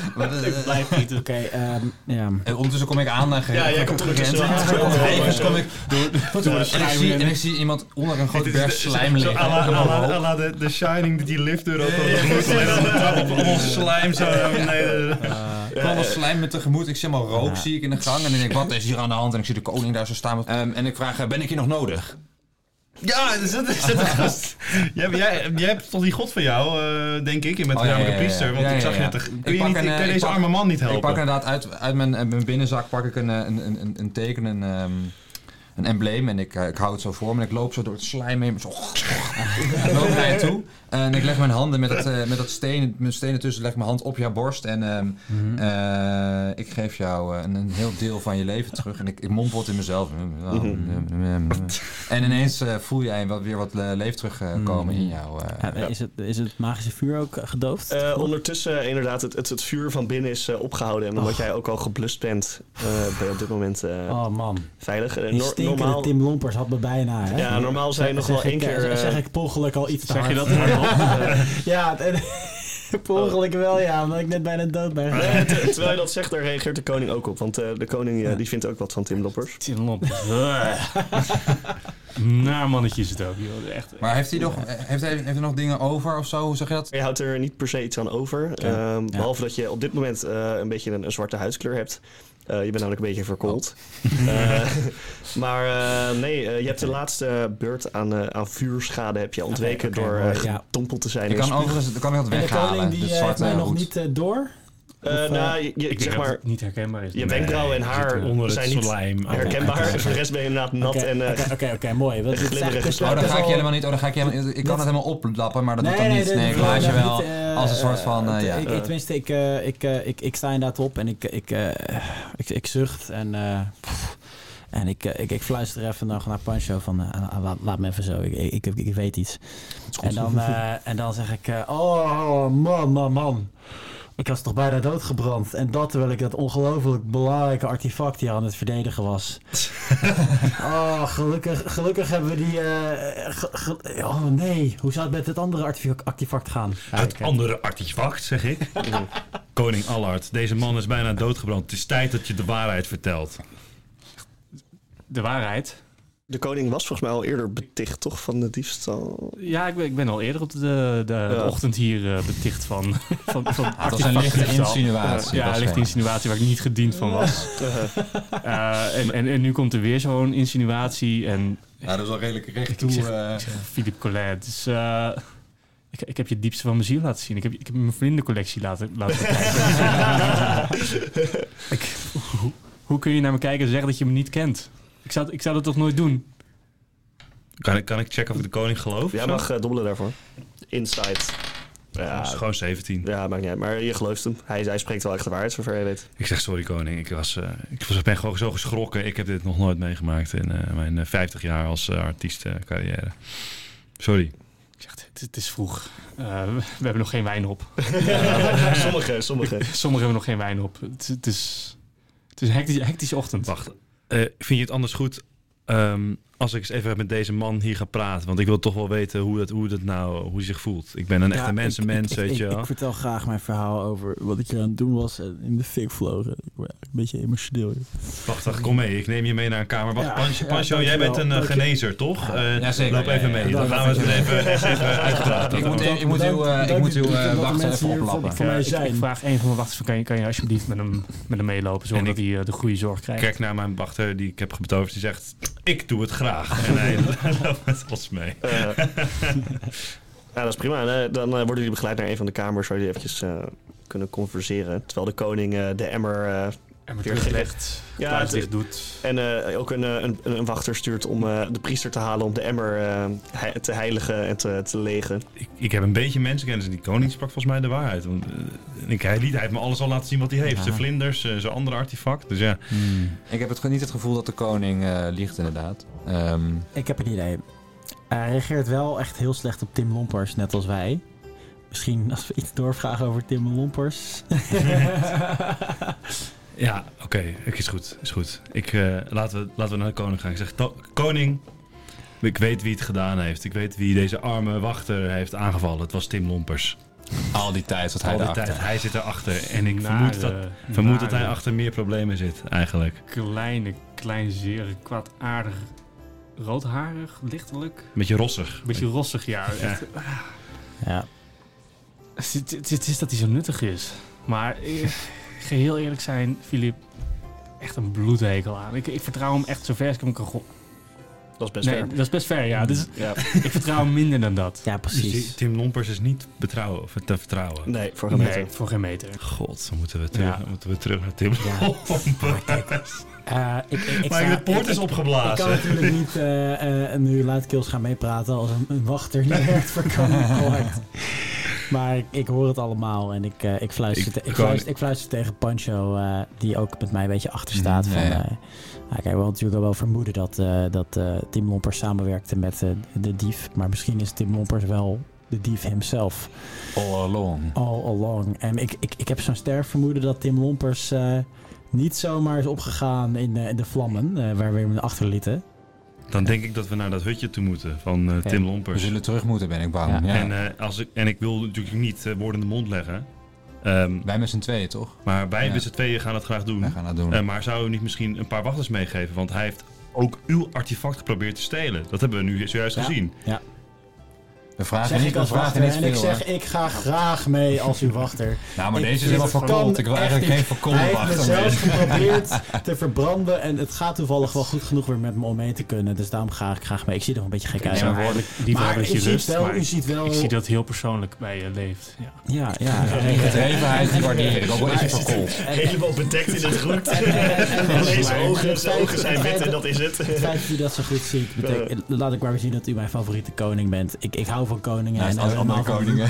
[SPEAKER 9] blijf niet. Oké, ehm, ja.
[SPEAKER 5] En ondertussen kom ik aan en
[SPEAKER 6] Ja, jij komt terug tussen de achtergrond.
[SPEAKER 5] Tevens kom ik door,
[SPEAKER 6] de
[SPEAKER 5] en, ik zie, en ik zie iemand onder een grote berg slijm
[SPEAKER 3] Zo
[SPEAKER 5] liggen.
[SPEAKER 3] à la-
[SPEAKER 5] Ik
[SPEAKER 3] à
[SPEAKER 5] kom
[SPEAKER 3] la-
[SPEAKER 5] omhoog.
[SPEAKER 3] à la de, de Shining dat die liftdeur open had. Alleen dan de trap op allemaal slijm zo naar beneden.
[SPEAKER 5] Ik kwam al slijm me tegemoet. Ik zie maar rook zie ik in de gang. En ik denk, wat is hier aan de hand? En ik zie de koning daar zo staan. Met, Ehm, en ik vraag, eh, ben ik hier nog nodig?
[SPEAKER 3] Ja, dus dat is dat is gast. Jij, hebt- jij, jij hebt toch die god van jou, eh, denk ik, in met de
[SPEAKER 5] Oh, ja, ja,
[SPEAKER 3] Ruimke
[SPEAKER 5] ja, ja.
[SPEAKER 3] priester. Want
[SPEAKER 5] Ja,
[SPEAKER 3] ik
[SPEAKER 5] ja,
[SPEAKER 3] zag
[SPEAKER 5] ja.
[SPEAKER 3] net, de-
[SPEAKER 5] Ik
[SPEAKER 3] kun je,
[SPEAKER 5] pak
[SPEAKER 3] niet,
[SPEAKER 5] een, eh,
[SPEAKER 3] kun je
[SPEAKER 5] ik
[SPEAKER 3] deze
[SPEAKER 5] pak-
[SPEAKER 3] arme man niet
[SPEAKER 5] Ik pak
[SPEAKER 3] helpen?
[SPEAKER 5] inderdaad uit, uit mijn, eh, mijn binnenzak pak ik een, eh, een, een, een- een teken, een, ehm, een embleem. En ik, eh, ik hou het zo voor me. En ik loop zo door het slijm heen. Zo, *laughs* Ik loop naar je toe. En ik leg mijn handen met dat, eh, met dat steen, mijn stenen tussen, leg ik mijn hand op jouw borst. En ehm, eh, ik geef jou eh, een, een heel deel van je leven terug. En ik, ik mompel het in mezelf. En ineens eh, voel jij wat, weer wat eh, leef terugkomen in jou. eh,
[SPEAKER 9] Ja, Is, het, is het magische vuur ook gedoofd?
[SPEAKER 6] Eh, ondertussen eh, inderdaad, het, het, het vuur van binnen is eh, opgehouden. En omdat jij ook al geblust bent, eh, ben je op dit moment eh,
[SPEAKER 9] oh man,
[SPEAKER 6] veilig. Eh,
[SPEAKER 9] die
[SPEAKER 6] nor-
[SPEAKER 9] stinkende
[SPEAKER 6] normaal,
[SPEAKER 9] Tim Lompers had me bijna, hè?
[SPEAKER 6] ja, normaal zijn je nog
[SPEAKER 9] Zeg
[SPEAKER 6] wel één
[SPEAKER 9] ik, eh,
[SPEAKER 6] keer... eh,
[SPEAKER 9] Zeg ik per ongeluk al iets te
[SPEAKER 8] Zeg je
[SPEAKER 9] hard.
[SPEAKER 8] dat hardop?
[SPEAKER 9] Ja, en- *laughs* per ongeluk wel, ja, omdat ik net bijna dood ben. gegaan.
[SPEAKER 6] Nee, te- Eh, terwijl je dat zegt, daar reageert de koning ook op. Want eh, de koning eh, die vindt ook wat van Tim Loppers.
[SPEAKER 8] Tim Lompers. Naar mannetje is Nou, het ook, joh. Echt.
[SPEAKER 5] Maar heeft hij, nog, eh, heeft, hij, heeft hij nog dingen over of zo? Hoe zeg je dat?
[SPEAKER 6] Je houdt er niet per se iets aan over. Ehm, Behalve dat je op dit moment eh, een beetje een, een zwarte huidskleur hebt. Eh, je bent namelijk een beetje verkoold. *laughs* Eh, maar eh, nee, eh, je hebt de laatste beurt aan, eh, aan vuurschade heb je ontweken
[SPEAKER 9] oké,
[SPEAKER 6] door
[SPEAKER 9] mooi,
[SPEAKER 6] eh
[SPEAKER 9] ja.
[SPEAKER 6] gedompeld te zijn. Dus,
[SPEAKER 5] Ik
[SPEAKER 6] in
[SPEAKER 5] kan
[SPEAKER 6] spuug.
[SPEAKER 5] overigens ik kan dat
[SPEAKER 9] En de
[SPEAKER 5] weghalen.
[SPEAKER 9] koning die
[SPEAKER 5] dit
[SPEAKER 9] eh, heeft
[SPEAKER 5] zwarte
[SPEAKER 9] mij nog
[SPEAKER 5] hoed.
[SPEAKER 9] niet eh, door.
[SPEAKER 6] Eh, nou, je, je-
[SPEAKER 7] Ik
[SPEAKER 6] zeg maar,
[SPEAKER 7] het niet herkenbaar is.
[SPEAKER 6] je wenkbrauwen en
[SPEAKER 8] eh,
[SPEAKER 6] haar
[SPEAKER 7] onder het
[SPEAKER 6] zijn niet
[SPEAKER 7] slijm.
[SPEAKER 6] herkenbaar. Voor de rest ben je inderdaad nat
[SPEAKER 9] Oké,
[SPEAKER 6] en... eh,
[SPEAKER 9] Oké, oké, oké, mooi. Want dit is
[SPEAKER 6] glibberig
[SPEAKER 9] eigenlijk-
[SPEAKER 6] is-
[SPEAKER 9] dit
[SPEAKER 5] Oh,
[SPEAKER 9] is
[SPEAKER 5] dan ga ik
[SPEAKER 9] wel-
[SPEAKER 5] je helemaal niet. Oh, dan ga ik je helemaal, ik kan het helemaal oplappen, maar dat doet dan niet.
[SPEAKER 9] dit-
[SPEAKER 5] Nee, ik
[SPEAKER 9] dit-
[SPEAKER 5] laat je
[SPEAKER 9] dit-
[SPEAKER 5] wel
[SPEAKER 9] eh,
[SPEAKER 5] als een soort van.
[SPEAKER 9] eh,
[SPEAKER 5] eh, ja.
[SPEAKER 9] ik, ik, tenminste, ik, eh, ik, eh, ik, ik sta inderdaad op en ik, ik, eh, ik, ik zucht en, eh, pff, en ik, eh, ik, ik fluister even nog naar Pancho van eh, ah, laat, laat me even zo, ik, ik, ik, ik weet iets. En dan, eh, en dan zeg ik, eh, oh man, man, man. Ik was toch bijna doodgebrand. En dat terwijl ik dat ongelooflijk belangrijke artefact hier aan het verdedigen was. oh, gelukkig, gelukkig hebben we die... eh, ge- ge- oh nee, hoe zou het met het andere artefact- artefact gaan?
[SPEAKER 3] Het andere artefact, zeg
[SPEAKER 9] *laughs*
[SPEAKER 3] ik.
[SPEAKER 9] Mhm.
[SPEAKER 3] Koning Allard, deze man is bijna doodgebrand. Het is tijd dat je de waarheid vertelt.
[SPEAKER 7] De waarheid.
[SPEAKER 6] De koning was volgens mij al eerder beticht, toch? Van de diefstal.
[SPEAKER 7] Ja, ik ben, ik ben al eerder op de, de, de
[SPEAKER 6] Ja.
[SPEAKER 7] ochtend hier eh, beticht van. *laughs* van, van
[SPEAKER 5] Dat is Ah, een lichte
[SPEAKER 7] artefactdiefstal.
[SPEAKER 5] insinuatie.
[SPEAKER 7] Ja,
[SPEAKER 5] dat is
[SPEAKER 7] ligt
[SPEAKER 5] geen-
[SPEAKER 7] insinuatie waar ik niet gediend van was. Eh, en, en, en nu komt er weer zo'n insinuatie. En
[SPEAKER 5] Ja, dat is wel redelijk recht toe.
[SPEAKER 7] Ik zeg-
[SPEAKER 5] eh,
[SPEAKER 7] Philippe Collet, het is, eh, ik, ik heb je het diepste van mijn ziel laten zien. Ik heb, ik heb mijn vriendencollectie laten, laten kijken. ik, hoe, hoe kun je naar me kijken en zeggen dat je me niet kent? Ik zou, ik zou dat toch nooit doen?
[SPEAKER 3] Kan ik, kan ik checken of ik de koning geloof?
[SPEAKER 6] Jij
[SPEAKER 3] Zo?
[SPEAKER 6] mag eh, dobbelen daarvoor. Insight.
[SPEAKER 3] Dat is
[SPEAKER 6] Ja,
[SPEAKER 3] gewoon 17.
[SPEAKER 6] ja, maakt niet uit. Maar je gelooft hem. Hij, hij spreekt wel echt de waarheid, zover je weet.
[SPEAKER 3] Ik zeg sorry koning, ik, was, eh, ik was, ben gewoon zo geschrokken. Ik heb dit nog nooit meegemaakt in eh, mijn eh, 50 jaar als eh, artiestencarrière. Sorry.
[SPEAKER 7] Ik zeg, het, het is vroeg. Eh, we hebben nog geen wijn op.
[SPEAKER 6] *laughs* sommige, sommige.
[SPEAKER 7] Sommigen hebben nog geen wijn op. Het, het is, het is een hectische, hectische ochtend.
[SPEAKER 3] Wacht, eh, vind je het anders goed ehm, als ik eens even met deze man hier ga praten? Want ik wil toch wel weten hoe dat, hoe dat nou, hoe hij zich voelt. Ik ben een
[SPEAKER 9] Ja,
[SPEAKER 3] echte
[SPEAKER 9] ik-
[SPEAKER 3] mensenmens,
[SPEAKER 9] ik-
[SPEAKER 3] weet
[SPEAKER 9] ik-
[SPEAKER 3] je
[SPEAKER 9] ik,
[SPEAKER 3] wel.
[SPEAKER 9] vertel graag mijn verhaal over wat ik hier aan het doen was en in de fik vlogen. Ik word eigenlijk een beetje emotioneel. joh.
[SPEAKER 3] Wacht, wacht, kom mee. Ik neem je mee naar een kamer. Wacht,
[SPEAKER 9] Ja,
[SPEAKER 3] Pancho,
[SPEAKER 9] ja,
[SPEAKER 3] Pancho, jij
[SPEAKER 9] dankjewel.
[SPEAKER 3] bent een eh,
[SPEAKER 9] Dankjewel.
[SPEAKER 3] genezer, toch? Eh,
[SPEAKER 5] Ja, zeker.
[SPEAKER 3] Loop
[SPEAKER 5] Ja,
[SPEAKER 3] even
[SPEAKER 5] ja, ja.
[SPEAKER 3] mee. Dan gaan we het
[SPEAKER 5] *laughs*
[SPEAKER 3] even, echt even uitpraten.
[SPEAKER 5] Ik moet- ik moet uw, eh, ik
[SPEAKER 9] Bedankt-
[SPEAKER 5] moet uw, eh,
[SPEAKER 9] bedankt dat de
[SPEAKER 5] wachten
[SPEAKER 9] mensen
[SPEAKER 5] even
[SPEAKER 9] hier
[SPEAKER 5] oplappen.
[SPEAKER 9] Voor, voor
[SPEAKER 7] Ja,
[SPEAKER 9] mij
[SPEAKER 7] ik, ik
[SPEAKER 9] zijn.
[SPEAKER 7] vraag een van mijn wachters, van, kan je, kan je alsjeblieft met hem, met hem meelopen... zodat
[SPEAKER 3] En ik-
[SPEAKER 7] hij eh, de goede zorg krijgt?
[SPEAKER 3] Kijk naar mijn wachter die ik heb betoverd. Die zegt, ik doe het graag. *laughs* En hij loopt met ons mee.
[SPEAKER 6] Eh, ja, dat is prima. En, eh, dan eh, worden jullie begeleid naar een van de kamers waar jullie eventjes eh, kunnen converseren. Terwijl de koning eh, de emmer eh,
[SPEAKER 7] En met
[SPEAKER 6] Weer
[SPEAKER 7] teruglegt,
[SPEAKER 6] Ja,
[SPEAKER 7] ja,
[SPEAKER 6] het-
[SPEAKER 7] dicht doet.
[SPEAKER 6] en eh, ook een, eh, een, een wachter stuurt om eh, de priester te halen om de emmer eh, hei- te heiligen en te, te legen.
[SPEAKER 3] Ik, ik heb een beetje mensenkennis en die koning sprak volgens mij de waarheid. Want eh, ik, hij, liet, hij heeft me alles al laten zien wat hij heeft.
[SPEAKER 5] Ja.
[SPEAKER 3] Zijn vlinders, eh, zijn andere artefact. Dus ja,
[SPEAKER 9] Hmm.
[SPEAKER 5] Ik heb het, ge- niet het gevoel dat de koning eh, liegt, inderdaad. Ehm,
[SPEAKER 9] Ik heb een idee. Hij reageert wel echt heel slecht op Tim Lompers, net als wij. Misschien als we iets doorvragen over Tim *laughs* Lompers.
[SPEAKER 3] ja oké, ik- is goed. Is goed. Ik, eh, laten, we, laten we naar de koning gaan. Ik zeg, "To- koning, ik weet wie het gedaan heeft. Ik weet wie deze arme wachter heeft aangevallen. Het was Tim Lompers.
[SPEAKER 5] al die tijd zat hij
[SPEAKER 3] Al die
[SPEAKER 5] erachter.
[SPEAKER 3] tijd, hij zit erachter. En ik
[SPEAKER 7] Nare,
[SPEAKER 3] vermoed dat, vermoed dat hij
[SPEAKER 7] nare,
[SPEAKER 3] achter meer problemen zit, eigenlijk.
[SPEAKER 7] eh, Kleine, kleinzere, kwaadaardig, roodharig, lichtelijk.
[SPEAKER 3] Beetje rossig.
[SPEAKER 7] Beetje rossig, ja.
[SPEAKER 3] Ja.
[SPEAKER 7] Echt,
[SPEAKER 9] ja.
[SPEAKER 7] Het, het- het- het is dat hij zo nuttig is. Maar eh, geheel eerlijk zijn, Filip, echt een bloedhekel aan. Ik, ik vertrouw hem echt zo ver als ik hem kan go-
[SPEAKER 6] Dat is best
[SPEAKER 7] Nee,
[SPEAKER 6] ver. Mm.
[SPEAKER 7] dat is best ver, ja. Dus
[SPEAKER 6] Ja.
[SPEAKER 7] ik vertrouw hem minder dan dat.
[SPEAKER 9] ja,
[SPEAKER 3] Dus die-
[SPEAKER 9] precies.
[SPEAKER 3] Tim Lompers is niet betrouwen, of te vertrouwen.
[SPEAKER 6] Nee, voor hem
[SPEAKER 7] Nee, voor geen meter.
[SPEAKER 3] God, dan moeten we terug,
[SPEAKER 7] Ja.
[SPEAKER 3] moeten we terug naar Tim
[SPEAKER 9] Ja.
[SPEAKER 3] Lompers.
[SPEAKER 9] Eh, ik, ik, ik
[SPEAKER 3] Maar
[SPEAKER 9] sta-
[SPEAKER 3] de poort
[SPEAKER 9] ik-
[SPEAKER 3] is
[SPEAKER 9] ik- Ik kan
[SPEAKER 3] opgeblazen.
[SPEAKER 9] natuurlijk niet eh, eh, nu luidkeels gaan meepraten als een, een wachter die werkt voor Koning Collect. Maar ik, ik hoor het allemaal en ik, eh, ik, fluister,
[SPEAKER 3] Ik-
[SPEAKER 9] te- ik,
[SPEAKER 3] Koning-
[SPEAKER 9] fluister, ik fluister tegen Pancho, eh, die ook met mij een beetje achter staat.
[SPEAKER 5] Mhm,
[SPEAKER 9] van,
[SPEAKER 5] ja, ja.
[SPEAKER 9] eh, nou, kijk, we hadden natuurlijk al wel vermoeden dat, eh dat eh, Tim Lompers samenwerkte met eh, de dief. Maar misschien is Tim Lompers wel de dief himself
[SPEAKER 5] All along.
[SPEAKER 9] all along. En ik, ik, ik heb zo'n sterk vermoeden dat Tim Lompers eh, niet zomaar is opgegaan in, eh, de vlammen, eh, waar we hem achterlieten.
[SPEAKER 3] Dan denk ik dat we naar dat hutje toe moeten van eh, Tim
[SPEAKER 5] We
[SPEAKER 3] Lompers.
[SPEAKER 5] zullen terug moeten, ben ik bang.
[SPEAKER 9] Ja.
[SPEAKER 5] Ja.
[SPEAKER 3] En, eh, als ik, en ik wil natuurlijk niet eh, woorden in de mond leggen. Ehm,
[SPEAKER 5] Wij met z'n tweeën, toch?
[SPEAKER 3] maar wij
[SPEAKER 5] Ja.
[SPEAKER 3] met z'n tweeën gaan het graag doen.
[SPEAKER 5] Wij gaan dat doen.
[SPEAKER 3] Eh, maar zou u niet misschien een paar wachters meegeven? Want hij heeft ook uw artefact geprobeerd te stelen. Dat hebben we nu zojuist
[SPEAKER 9] Ja.
[SPEAKER 3] gezien.
[SPEAKER 9] Ja.
[SPEAKER 5] De vraag is
[SPEAKER 9] Zeg
[SPEAKER 5] niet,
[SPEAKER 9] ik als
[SPEAKER 5] de vraag is
[SPEAKER 9] wachter.
[SPEAKER 5] niet
[SPEAKER 9] En ik
[SPEAKER 5] veel. hoor.
[SPEAKER 9] zeg, ik ga graag mee als uw wachter.
[SPEAKER 5] Nou, maar
[SPEAKER 9] ik-
[SPEAKER 5] deze is helemaal
[SPEAKER 9] ik kan
[SPEAKER 5] verkoold. Ik wil
[SPEAKER 9] echt
[SPEAKER 5] eigenlijk geen
[SPEAKER 9] niet. Hij
[SPEAKER 5] verkoold
[SPEAKER 9] heeft me
[SPEAKER 5] wachter
[SPEAKER 9] zelfs
[SPEAKER 5] meer.
[SPEAKER 9] geprobeerd te verbranden. En het gaat toevallig wel goed genoeg weer met me om mee te kunnen. Dus daarom ga ik graag mee. Ik zie er nog een beetje gek uit.
[SPEAKER 7] Ja, maar eigenlijk liefhebber
[SPEAKER 9] Maar
[SPEAKER 7] is
[SPEAKER 9] u
[SPEAKER 7] je
[SPEAKER 9] ziet
[SPEAKER 7] lust,
[SPEAKER 9] wel-
[SPEAKER 7] dus, maar
[SPEAKER 9] u ziet wel-
[SPEAKER 7] ik zie dat heel persoonlijk bij je leeft. Ja.
[SPEAKER 9] Ja, ja.
[SPEAKER 5] Gedrevenheid, die waardeer ik. Ook al is hij verkoold.
[SPEAKER 6] Helemaal bedekt in het
[SPEAKER 7] *laughs*
[SPEAKER 6] groen. En deze ogen, zijn ogen zijn wit en dat is
[SPEAKER 9] Het
[SPEAKER 7] Mhm.
[SPEAKER 6] het.
[SPEAKER 9] feit dat u dat zo goed ziet, betekent, laat ik maar weer zien dat u mijn favoriete koning bent. Ik, ik hou van koningen.
[SPEAKER 5] Naast
[SPEAKER 9] en
[SPEAKER 5] alle
[SPEAKER 9] allemaal
[SPEAKER 5] andere
[SPEAKER 9] van-
[SPEAKER 5] koningen.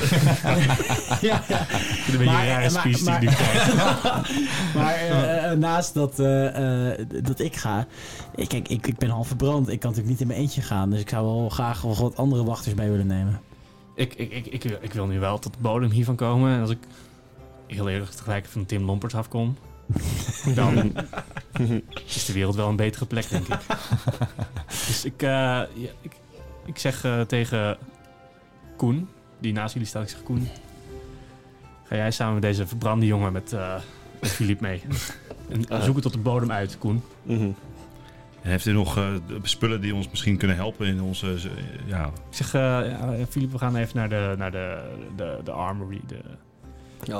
[SPEAKER 9] Ja, ja.
[SPEAKER 7] Een beetje
[SPEAKER 9] Maar-
[SPEAKER 7] een rare
[SPEAKER 9] maar-
[SPEAKER 7] speech die
[SPEAKER 9] maar-
[SPEAKER 7] ik nu krijg.
[SPEAKER 9] Maar eh, eh, naast dat, eh, eh, dat ik ga, ik, kijk, ik, ik ben half verbrand. Ik kan natuurlijk niet in mijn eentje gaan. Dus ik zou wel graag wel wat andere wachters mee willen nemen.
[SPEAKER 7] Ik, ik, ik, ik, ik wil nu wel tot de bodem hiervan komen. En als ik heel eerlijk tegelijk van Tim Lompert afkom, dan is de wereld wel een betere plek, denk ik. dus ik, eh, ja, ik, ik zeg eh, tegen Koen, die naast jullie staat, ik zeg Koen, ga jij samen met deze verbrande jongen met, eh met Filip mee. En zoek het tot de bodem uit, Koen.
[SPEAKER 6] Mhm.
[SPEAKER 3] Heeft u nog eh, spullen die ons misschien kunnen helpen in onze... eh, z- ja, Nou,
[SPEAKER 7] Ik zeg, eh, ja, eh, Filip, we gaan even naar de, naar de, de, de armory, de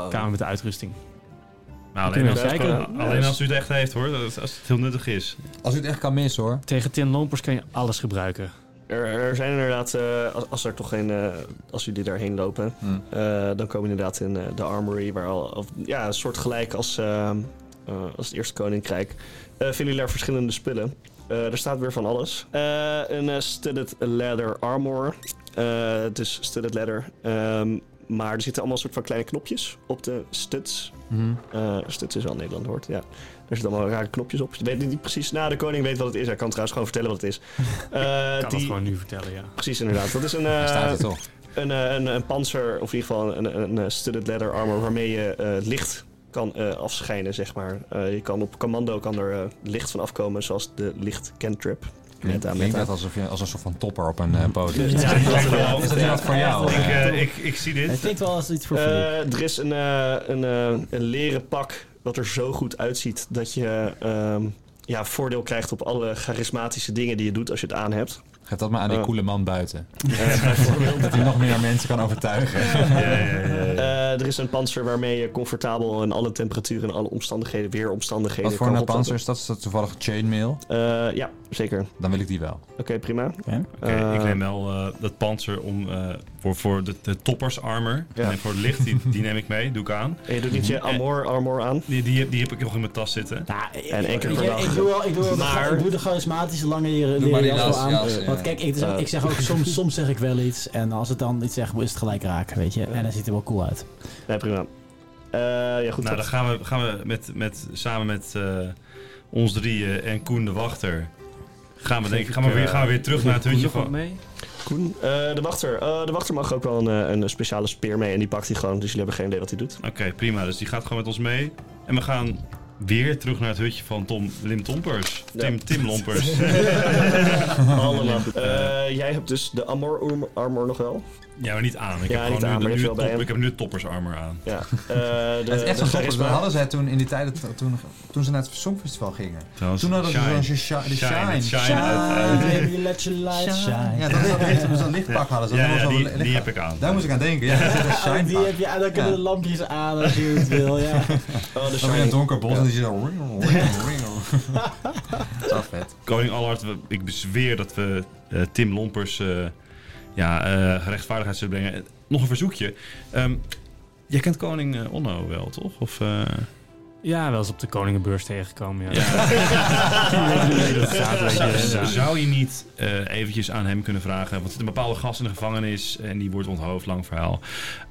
[SPEAKER 7] kamer met de uitrusting.
[SPEAKER 3] nou, alleen,
[SPEAKER 7] kunnen
[SPEAKER 3] als,
[SPEAKER 7] we kijken.
[SPEAKER 3] alleen- alleen als u het echt heeft hoor, dat- als het heel nuttig is.
[SPEAKER 5] *laughs* Als u het echt kan missen hoor.
[SPEAKER 7] Tegen Tim Lompers kan je alles gebruiken.
[SPEAKER 6] Er, er zijn inderdaad, eh, als, als er toch geen, eh, als jullie daarheen lopen,
[SPEAKER 7] Hm.
[SPEAKER 5] Hmm.
[SPEAKER 6] eh, dan komen inderdaad in eh, de armory, waar al, of, ja, een soort gelijk als, ehm, eh, als het Eerste Koninkrijk, eh, vinden jullie daar verschillende spullen. Eh, er staat weer van alles. Eh, een eh, studded leather armor, Eh, het is studded leather, Ehm, maar er zitten allemaal soort van kleine knopjes op de studs.
[SPEAKER 5] Mhm.
[SPEAKER 6] Eh, dus dit is wel een Nederland woord, ja. Er zitten allemaal rare knopjes op. Je weet niet precies. Nou, de koning weet wat het is. Hij kan trouwens gewoon vertellen wat het
[SPEAKER 7] *laughs*
[SPEAKER 6] is. Eh,
[SPEAKER 7] Ik kan
[SPEAKER 6] die,
[SPEAKER 7] het gewoon nu vertellen, ja.
[SPEAKER 6] Precies, inderdaad. Dat is een, eh,
[SPEAKER 5] *laughs* Daar staat het toch.
[SPEAKER 6] een, eh, een, een panzer, of in ieder geval een, een, een studded leather armor... waarmee je eh, het licht kan eh, afschijnen, zeg maar. Eh, je kan op commando kan er eh, licht van afkomen, zoals de licht cantrip. Meta,
[SPEAKER 5] Klinkt
[SPEAKER 6] meta.
[SPEAKER 5] dat alsof je als een soort van topper op een eh, podium
[SPEAKER 9] Ja.
[SPEAKER 5] zit.
[SPEAKER 6] Ja, dat wel.
[SPEAKER 5] Is dat inderdaad voor jou?
[SPEAKER 3] Ik,
[SPEAKER 5] eh?
[SPEAKER 3] eh, ik, ik zie
[SPEAKER 9] Het
[SPEAKER 3] dit.
[SPEAKER 9] klinkt wel als iets voor Filip.
[SPEAKER 6] Eh, er is een, eh, een, eh, een leren pak wat er zo goed uitziet dat je ehm, ja, voordeel krijgt op alle charismatische dingen die je doet als je het aan hebt.
[SPEAKER 5] Geef dat maar aan die
[SPEAKER 6] Eh.
[SPEAKER 5] coole man *laughs* buiten.
[SPEAKER 6] Eh, bijvoorbeeld.
[SPEAKER 5] Dat hij nog meer mensen kan overtuigen.
[SPEAKER 3] Ja, ja, ja, ja.
[SPEAKER 6] Eh, er is een panzer waarmee je comfortabel in alle temperaturen en alle omstandigheden, weeromstandigheden.
[SPEAKER 5] Wat voor
[SPEAKER 6] kan
[SPEAKER 5] een
[SPEAKER 6] rondlopen.
[SPEAKER 5] panzer is dat? Is dat toevallig chainmail?
[SPEAKER 6] Eh, ja, zeker.
[SPEAKER 5] Dan wil ik die wel.
[SPEAKER 6] Oké, prima.
[SPEAKER 3] Oké, ik
[SPEAKER 6] Eh,
[SPEAKER 3] neem wel eh, dat panzer om, eh, voor, voor de, de toppers armor.
[SPEAKER 6] Ja.
[SPEAKER 3] En voor het licht, die, die neem ik mee, doe ik aan.
[SPEAKER 6] En Eh, je doet niet
[SPEAKER 3] Eh.
[SPEAKER 6] je armor, armor aan.
[SPEAKER 3] Die, die, heb- die heb ik nog in mijn tas zitten.
[SPEAKER 9] Nou, ik-
[SPEAKER 6] En één keer
[SPEAKER 9] ik-
[SPEAKER 6] per
[SPEAKER 9] ik-
[SPEAKER 6] dag.
[SPEAKER 9] Ik doe wel, ik doe wel
[SPEAKER 6] Maar-
[SPEAKER 9] de, ik doe de charismatische lange leren
[SPEAKER 5] Doe maar die
[SPEAKER 9] leren jas wel aan.
[SPEAKER 5] jas, jas, ja.
[SPEAKER 9] Want kijk, ik,
[SPEAKER 6] Eh.
[SPEAKER 9] ik zeg ook soms, soms zeg ik wel iets. En als het dan iets zeg, is het gelijk raken, weet je. En dan ziet er wel cool uit.
[SPEAKER 6] Nee, prima. Eh, ja, goed.
[SPEAKER 3] Nou, dan
[SPEAKER 6] dat-
[SPEAKER 3] gaan we, gaan we met, met, samen met eh, ons drieën en Koen de Wachter. Gaan we, denk, ik- eh, gaan we, weer, gaan we weer terug naar het
[SPEAKER 7] Doe je
[SPEAKER 3] hutje
[SPEAKER 7] nog wat
[SPEAKER 3] van.
[SPEAKER 7] mee?
[SPEAKER 6] Koen, eh, de wachter. Eh, de wachter mag ook wel een, eh, een speciale speer mee en die pakt hij gewoon. Dus jullie hebben geen idee wat hij doet.
[SPEAKER 3] Oké, prima. Dus die gaat gewoon met ons mee. En we gaan weer terug naar het hutje van Tom Lim Tompers.
[SPEAKER 6] Ja.
[SPEAKER 3] Tim, Tim
[SPEAKER 6] *laughs*
[SPEAKER 3] Lompers.
[SPEAKER 5] Oh,
[SPEAKER 6] Allemaal. Eh, jij hebt dus de armor, armor- armor nog wel.
[SPEAKER 3] ja, maar niet aan. Ik,
[SPEAKER 6] Ja,
[SPEAKER 3] heb,
[SPEAKER 6] niet
[SPEAKER 3] gewoon
[SPEAKER 6] aan,
[SPEAKER 3] nu,
[SPEAKER 6] maar
[SPEAKER 3] nu
[SPEAKER 6] is wel
[SPEAKER 3] het
[SPEAKER 6] bij
[SPEAKER 3] top-
[SPEAKER 6] hem.
[SPEAKER 3] ik heb nu het toppersarmor aan.
[SPEAKER 5] *laughs*
[SPEAKER 6] Ja. Eh, de,
[SPEAKER 5] het is echt
[SPEAKER 6] de
[SPEAKER 5] zo'n
[SPEAKER 3] Eh,
[SPEAKER 5] topper.
[SPEAKER 6] charisma-
[SPEAKER 5] Dat hadden zij toen in die tijd dat- toen, toen ze naar het Songfestival gingen.
[SPEAKER 3] Trouwens,
[SPEAKER 5] Toen hadden ze
[SPEAKER 3] shine.
[SPEAKER 5] zo'n shine. de
[SPEAKER 3] Shine,
[SPEAKER 5] shine.
[SPEAKER 3] shine uit- uit-
[SPEAKER 9] Ah, Baby, let your light shine.
[SPEAKER 5] Ja, dat is dat licht, zo'n lichtpak hadden ze.
[SPEAKER 3] Ja,
[SPEAKER 5] Dat was
[SPEAKER 3] ja,
[SPEAKER 5] wel
[SPEAKER 3] die-
[SPEAKER 5] een
[SPEAKER 3] die
[SPEAKER 5] lichtpak.
[SPEAKER 3] heb ik aan.
[SPEAKER 5] Daar moest ik aan denken. Ja, dat is een
[SPEAKER 6] *laughs*
[SPEAKER 9] En
[SPEAKER 5] shine
[SPEAKER 9] Oh, die heb je, en dan kunnen de lampjes aan als je het wil, ja.
[SPEAKER 6] Oh, de
[SPEAKER 5] Dan ben je in
[SPEAKER 6] Shining.
[SPEAKER 5] het donker bos en die zit zo... ringel, ringel, ringel.
[SPEAKER 3] *laughs*
[SPEAKER 5] Dat is wel vet.
[SPEAKER 3] Koning Allard, we- ik bezweer dat we eh, Tim Lompers eh, ja, eh, rechtvaardigheid zullen brengen. Eh, Nog een verzoekje. Ehm, jij kent koning eh, Onno wel, toch? Of, eh,
[SPEAKER 7] Ja, wel eens op de Koningenbeurs tegengekomen. *laughs* Ja.
[SPEAKER 3] ja.
[SPEAKER 7] Ja,
[SPEAKER 3] Zou-
[SPEAKER 7] ja.
[SPEAKER 3] Zou je niet eh, eventjes aan hem kunnen vragen? Want er zit een bepaalde gast in de gevangenis en die wordt onthoofd, lang verhaal.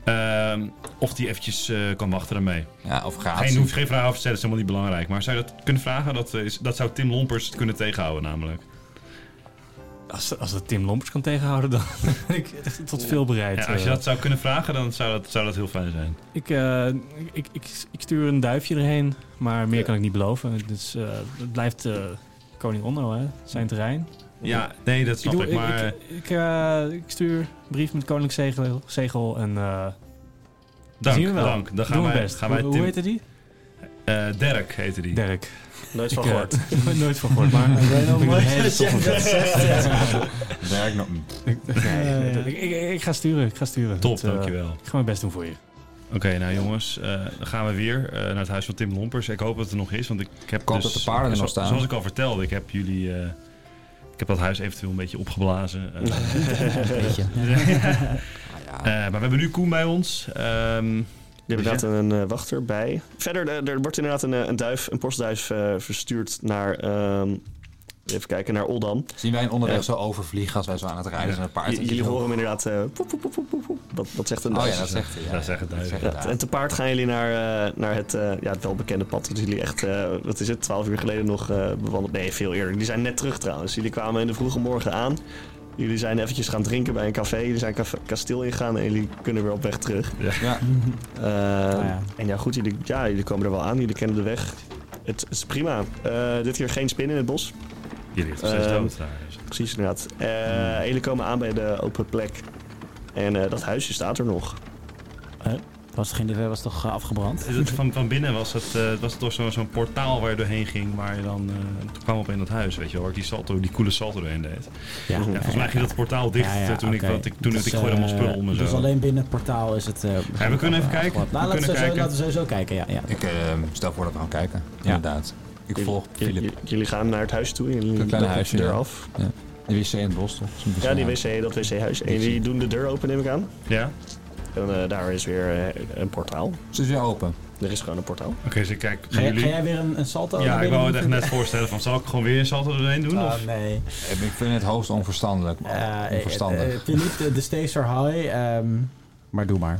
[SPEAKER 3] Ehm, of die eventjes eh, kan wachten daarmee.
[SPEAKER 5] Ja, of gaat
[SPEAKER 3] Geen, hoeft geen vraag over te stellen, is helemaal niet belangrijk. Maar zou je dat kunnen vragen? Dat, eh, is, dat zou Tim Lompers het kunnen tegenhouden, namelijk.
[SPEAKER 7] Als, als dat Tim Lompers kan tegenhouden, dan *laughs* ben ik echt tot veel bereid. eh.
[SPEAKER 3] Ja, als je dat zou kunnen vragen, dan zou dat, zou dat heel fijn zijn.
[SPEAKER 7] ik, eh, ik, ik, ik stuur een duifje erheen, maar meer kan ik niet beloven. Dus eh, het blijft eh, Koning Onno, hè? zijn terrein.
[SPEAKER 3] Ja, nee, dat snap
[SPEAKER 7] doe-
[SPEAKER 3] ik. maar
[SPEAKER 7] ik, ik, eh, ik stuur een brief met Koninklijk Zegel, zegel en eh,
[SPEAKER 3] dank,
[SPEAKER 7] zien we wel.
[SPEAKER 3] dank. Dan gaan
[SPEAKER 7] doe
[SPEAKER 3] wij,
[SPEAKER 7] mijn best.
[SPEAKER 3] gaan wij
[SPEAKER 7] hoe,
[SPEAKER 3] Tim...
[SPEAKER 7] hoe heette die?
[SPEAKER 3] Eh, Dirk heette die.
[SPEAKER 7] Dirk.
[SPEAKER 6] Nooit van
[SPEAKER 7] Ik, eh,
[SPEAKER 3] *laughs*
[SPEAKER 6] gehoord.
[SPEAKER 7] nooit van gehoord, maar ik vind het een hele toffe vent.
[SPEAKER 5] Werk nog.
[SPEAKER 7] Nee, Eh, ik, ik, ik ga sturen, ik ga sturen.
[SPEAKER 3] Top,
[SPEAKER 7] Dat, eh,
[SPEAKER 3] dankjewel.
[SPEAKER 7] Ik ga mijn best doen voor je.
[SPEAKER 3] Oké, nou jongens, eh, dan gaan we weer eh, naar het huis van Tim Lompers. Ik hoop dat het er nog is, want ik heb
[SPEAKER 5] hoop
[SPEAKER 3] dus,
[SPEAKER 5] dat de paarden er
[SPEAKER 3] zo-
[SPEAKER 5] nog staan.
[SPEAKER 3] Zoals ik al vertelde, ik heb jullie, eh, ik heb dat huis eventueel een beetje opgeblazen.
[SPEAKER 5] *laughs*
[SPEAKER 3] Eh,
[SPEAKER 9] Beetje.
[SPEAKER 3] *laughs* eh, maar we hebben nu Koen bij ons. Ehm,
[SPEAKER 6] Je hebt inderdaad een eh, wachter bij. Verder, eh, er wordt inderdaad een, eh, een duif, een postduif eh, verstuurd naar, ehm, even kijken, naar Oldam.
[SPEAKER 5] Zien wij een onderweg zo overvliegen als wij zo aan het rijden zijn een paard.
[SPEAKER 6] J- jullie horen hem inderdaad, eh, poep, poep, poep, poep, poep, poep. Dat, dat zegt een
[SPEAKER 5] Oh
[SPEAKER 6] duif.
[SPEAKER 5] ja, dat zegt hij. ja.
[SPEAKER 3] Dat zegt het
[SPEAKER 5] Dat zegt
[SPEAKER 3] duidelijk.
[SPEAKER 5] hij,
[SPEAKER 6] Ja,
[SPEAKER 5] ja.
[SPEAKER 6] en te paard gaan jullie naar, eh, naar het, eh, ja, het welbekende pad. Dat jullie echt, eh, wat is het, twaalf uur geleden nog eh, bewandeld. Nee, veel eerder. Die zijn net terug trouwens. Jullie kwamen in de vroege morgen aan. Jullie zijn eventjes gaan drinken bij een café. Jullie zijn café- kasteel ingegaan en jullie kunnen weer op weg terug. *laughs*
[SPEAKER 5] Ja.
[SPEAKER 6] Eh, En ja, goed, jullie, ja, jullie komen er wel aan. Jullie kennen de weg. Het is prima. Eh, dit keer geen spin in het bos.
[SPEAKER 3] Jullie hebben zes
[SPEAKER 6] Ehm,
[SPEAKER 3] dood daar. dus.
[SPEAKER 6] Precies, inderdaad. Eh, Jullie komen aan bij de open plek. En eh, dat huisje staat er nog.
[SPEAKER 9] Was geen ver was toch eh, afgebrand?
[SPEAKER 3] Is het van, van binnen was het, eh, was het toch zo- zo'n portaal waar je doorheen ging, waar je dan, eh, toen kwam op in dat huis, weet je wel, waar ik die salto, die coole salto doorheen deed.
[SPEAKER 9] Ja,
[SPEAKER 3] Ja, volgens mij ging dat portaal dicht
[SPEAKER 9] Ja, ja,
[SPEAKER 3] eh, toen ik,
[SPEAKER 9] oké.
[SPEAKER 3] want ik, toen
[SPEAKER 9] Dus,
[SPEAKER 3] ik gooide allemaal
[SPEAKER 9] eh,
[SPEAKER 3] spullen om en zo.
[SPEAKER 9] Dus alleen binnen het portaal is het... eh,
[SPEAKER 3] Ja, we kunnen even kijken.
[SPEAKER 9] afgebrand. Nou,
[SPEAKER 3] we
[SPEAKER 9] laten, we
[SPEAKER 3] kunnen
[SPEAKER 9] sowieso-
[SPEAKER 3] kijken.
[SPEAKER 9] laten we sowieso kijken, ja. ja.
[SPEAKER 5] Ik eh, stel voor dat we gaan kijken. Inderdaad. Ik volg
[SPEAKER 6] J-
[SPEAKER 5] Filip.
[SPEAKER 6] j- jullie gaan naar het huis toe. Jullie
[SPEAKER 5] Dat kleine
[SPEAKER 6] lopen
[SPEAKER 5] huisje,
[SPEAKER 6] de deur
[SPEAKER 5] ja.
[SPEAKER 6] af.
[SPEAKER 5] De wc in het bos toch? Zo'n
[SPEAKER 6] Ja, die
[SPEAKER 5] wc.
[SPEAKER 6] wc, dat wc-huis. En jullie doen de deur open, neem ik aan.
[SPEAKER 3] Ja?
[SPEAKER 6] En eh, daar is weer eh, een portaal.
[SPEAKER 5] Ze is weer open.
[SPEAKER 6] Er is gewoon een portaal.
[SPEAKER 3] Oké, dus ik kijk,
[SPEAKER 9] Ga,
[SPEAKER 3] gaan
[SPEAKER 9] jij- ga
[SPEAKER 3] jullie...
[SPEAKER 9] jij weer een, een salto?
[SPEAKER 3] Ja,
[SPEAKER 9] naar
[SPEAKER 3] ik wou het echt
[SPEAKER 9] binnen
[SPEAKER 3] net voorstellen van, zal ik gewoon weer een salto doorheen doen?
[SPEAKER 9] doen?
[SPEAKER 3] of?
[SPEAKER 9] Ah, nee.
[SPEAKER 5] Ik vind het hoogst onverstandelijk. man.
[SPEAKER 9] Eh, eh, eh,
[SPEAKER 5] onverstandig.
[SPEAKER 9] Philippe, de, de stakes are high. ehm, maar doe maar.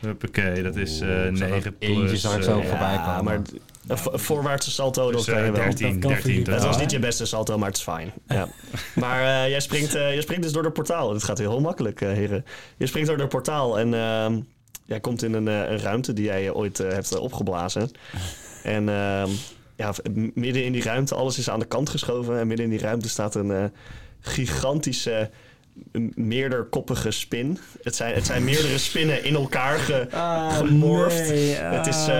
[SPEAKER 3] Huppakee, dat is eh
[SPEAKER 5] ik zag
[SPEAKER 3] 9 plus...
[SPEAKER 5] eentje zag ik zo
[SPEAKER 3] eh,
[SPEAKER 5] voorbij komen.
[SPEAKER 6] maar d- een vo- een voorwaartse salto, dat
[SPEAKER 3] dus, eh,
[SPEAKER 6] kan je wel.
[SPEAKER 3] 13,
[SPEAKER 9] Dat kan
[SPEAKER 3] 13.
[SPEAKER 9] Philippe
[SPEAKER 6] Het
[SPEAKER 3] Dat
[SPEAKER 6] was
[SPEAKER 9] wel.
[SPEAKER 6] niet je beste salto, maar het is fijn. Ja. maar eh, jij, springt, eh, jij springt dus door het portaal. Het gaat heel makkelijk, eh, heren. Je springt door het portaal en ehm, jij komt in een, eh, een ruimte die jij eh, ooit eh, hebt eh, opgeblazen. En ehm, ja, v- m- midden in die ruimte, alles is aan de kant geschoven. En midden in die ruimte staat een eh, gigantische, m- meerderkoppige spin. Het zijn, het zijn meerdere spinnen in elkaar ge, gemorfd.
[SPEAKER 9] Ah, nee.
[SPEAKER 6] Het is eh,
[SPEAKER 9] Ah,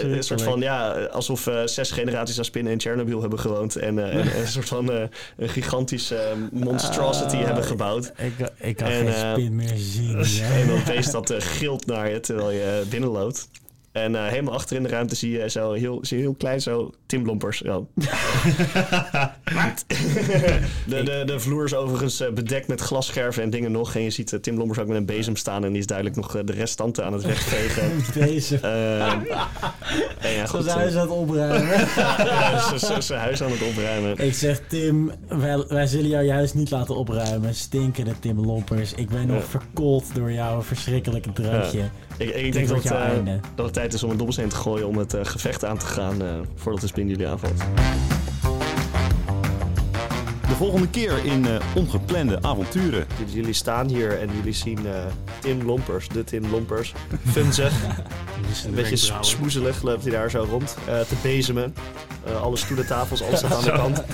[SPEAKER 6] een soort van,
[SPEAKER 9] verschrikkelijk.
[SPEAKER 6] ja, alsof eh, zes generaties aan spinnen in Chernobyl hebben gewoond. En eh, een- een soort van eh, een gigantische eh, monstrosity
[SPEAKER 9] Ah.
[SPEAKER 6] hebben gebouwd.
[SPEAKER 9] Ik, ik kan
[SPEAKER 6] En,
[SPEAKER 9] geen
[SPEAKER 6] eh,
[SPEAKER 9] spin meer *laughs* zien.
[SPEAKER 6] En
[SPEAKER 9] hè.
[SPEAKER 6] dat beest dat eh, gilt naar je terwijl je eh, binnenloopt. En eh, helemaal achter in de ruimte zie je zo heel, zie je heel klein zo Tim Lompers.
[SPEAKER 9] *laughs*
[SPEAKER 6] Zo. Wat? *laughs* de, de, de vloer is overigens eh, bedekt met glasscherven en dingen nog. En je ziet eh, Tim Lompers ook met een bezem staan. En die is duidelijk nog eh, de restanten aan het
[SPEAKER 9] *laughs*
[SPEAKER 6] wegvegen.
[SPEAKER 9] Deze.
[SPEAKER 6] Eh, en ja,
[SPEAKER 9] Zo
[SPEAKER 6] goed,
[SPEAKER 9] zijn
[SPEAKER 6] eh,
[SPEAKER 9] ze aan het *laughs* opruimen.
[SPEAKER 6] Ja, ze- ze- *laughs* Zijn huis aan het opruimen.
[SPEAKER 9] ik zeg, Tim, wij, wij zullen jou je huis niet laten opruimen. Stinkende Tim Lompers. Ik ben nog verkoold door jouw verschrikkelijke drankje.
[SPEAKER 6] Ik, ik
[SPEAKER 9] Dit
[SPEAKER 6] denk
[SPEAKER 9] wordt
[SPEAKER 6] dat,
[SPEAKER 9] jouw
[SPEAKER 6] eh,
[SPEAKER 9] einde.
[SPEAKER 6] dat het tijd is om een dobbelsteen te gooien om het eh, gevecht aan te gaan eh, voordat de spin jullie aanvalt.
[SPEAKER 10] De volgende keer in eh, Ongeplande Avonturen.
[SPEAKER 6] Jullie, jullie staan hier en jullie zien eh, Tim Lompers, de Tim
[SPEAKER 9] *laughs*
[SPEAKER 6] Lompers, funzig, een beetje s- smoezelig loopt hij daar zo rond, eh, te bezemen. Eh, alle stoelen, tafels, alles
[SPEAKER 9] *laughs*
[SPEAKER 6] staat aan de kant.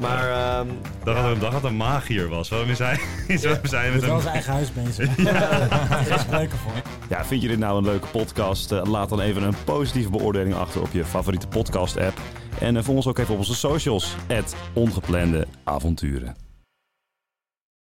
[SPEAKER 6] Maar ehm,
[SPEAKER 3] dacht dat- dacht dat een magier was. Waarom is hij, *laughs* waarom is hij
[SPEAKER 9] Hij
[SPEAKER 3] met
[SPEAKER 9] is wel
[SPEAKER 3] een...
[SPEAKER 9] zijn eigen huis
[SPEAKER 3] *laughs*
[SPEAKER 9] bezig. Daar is spreuken voor.
[SPEAKER 10] Ja, vind je dit nou een leuke podcast? Eh, Laat dan even een positieve beoordeling achter op je favoriete podcast app. En eh, volg ons ook even op onze socials. Het Ongeplande Avonturen.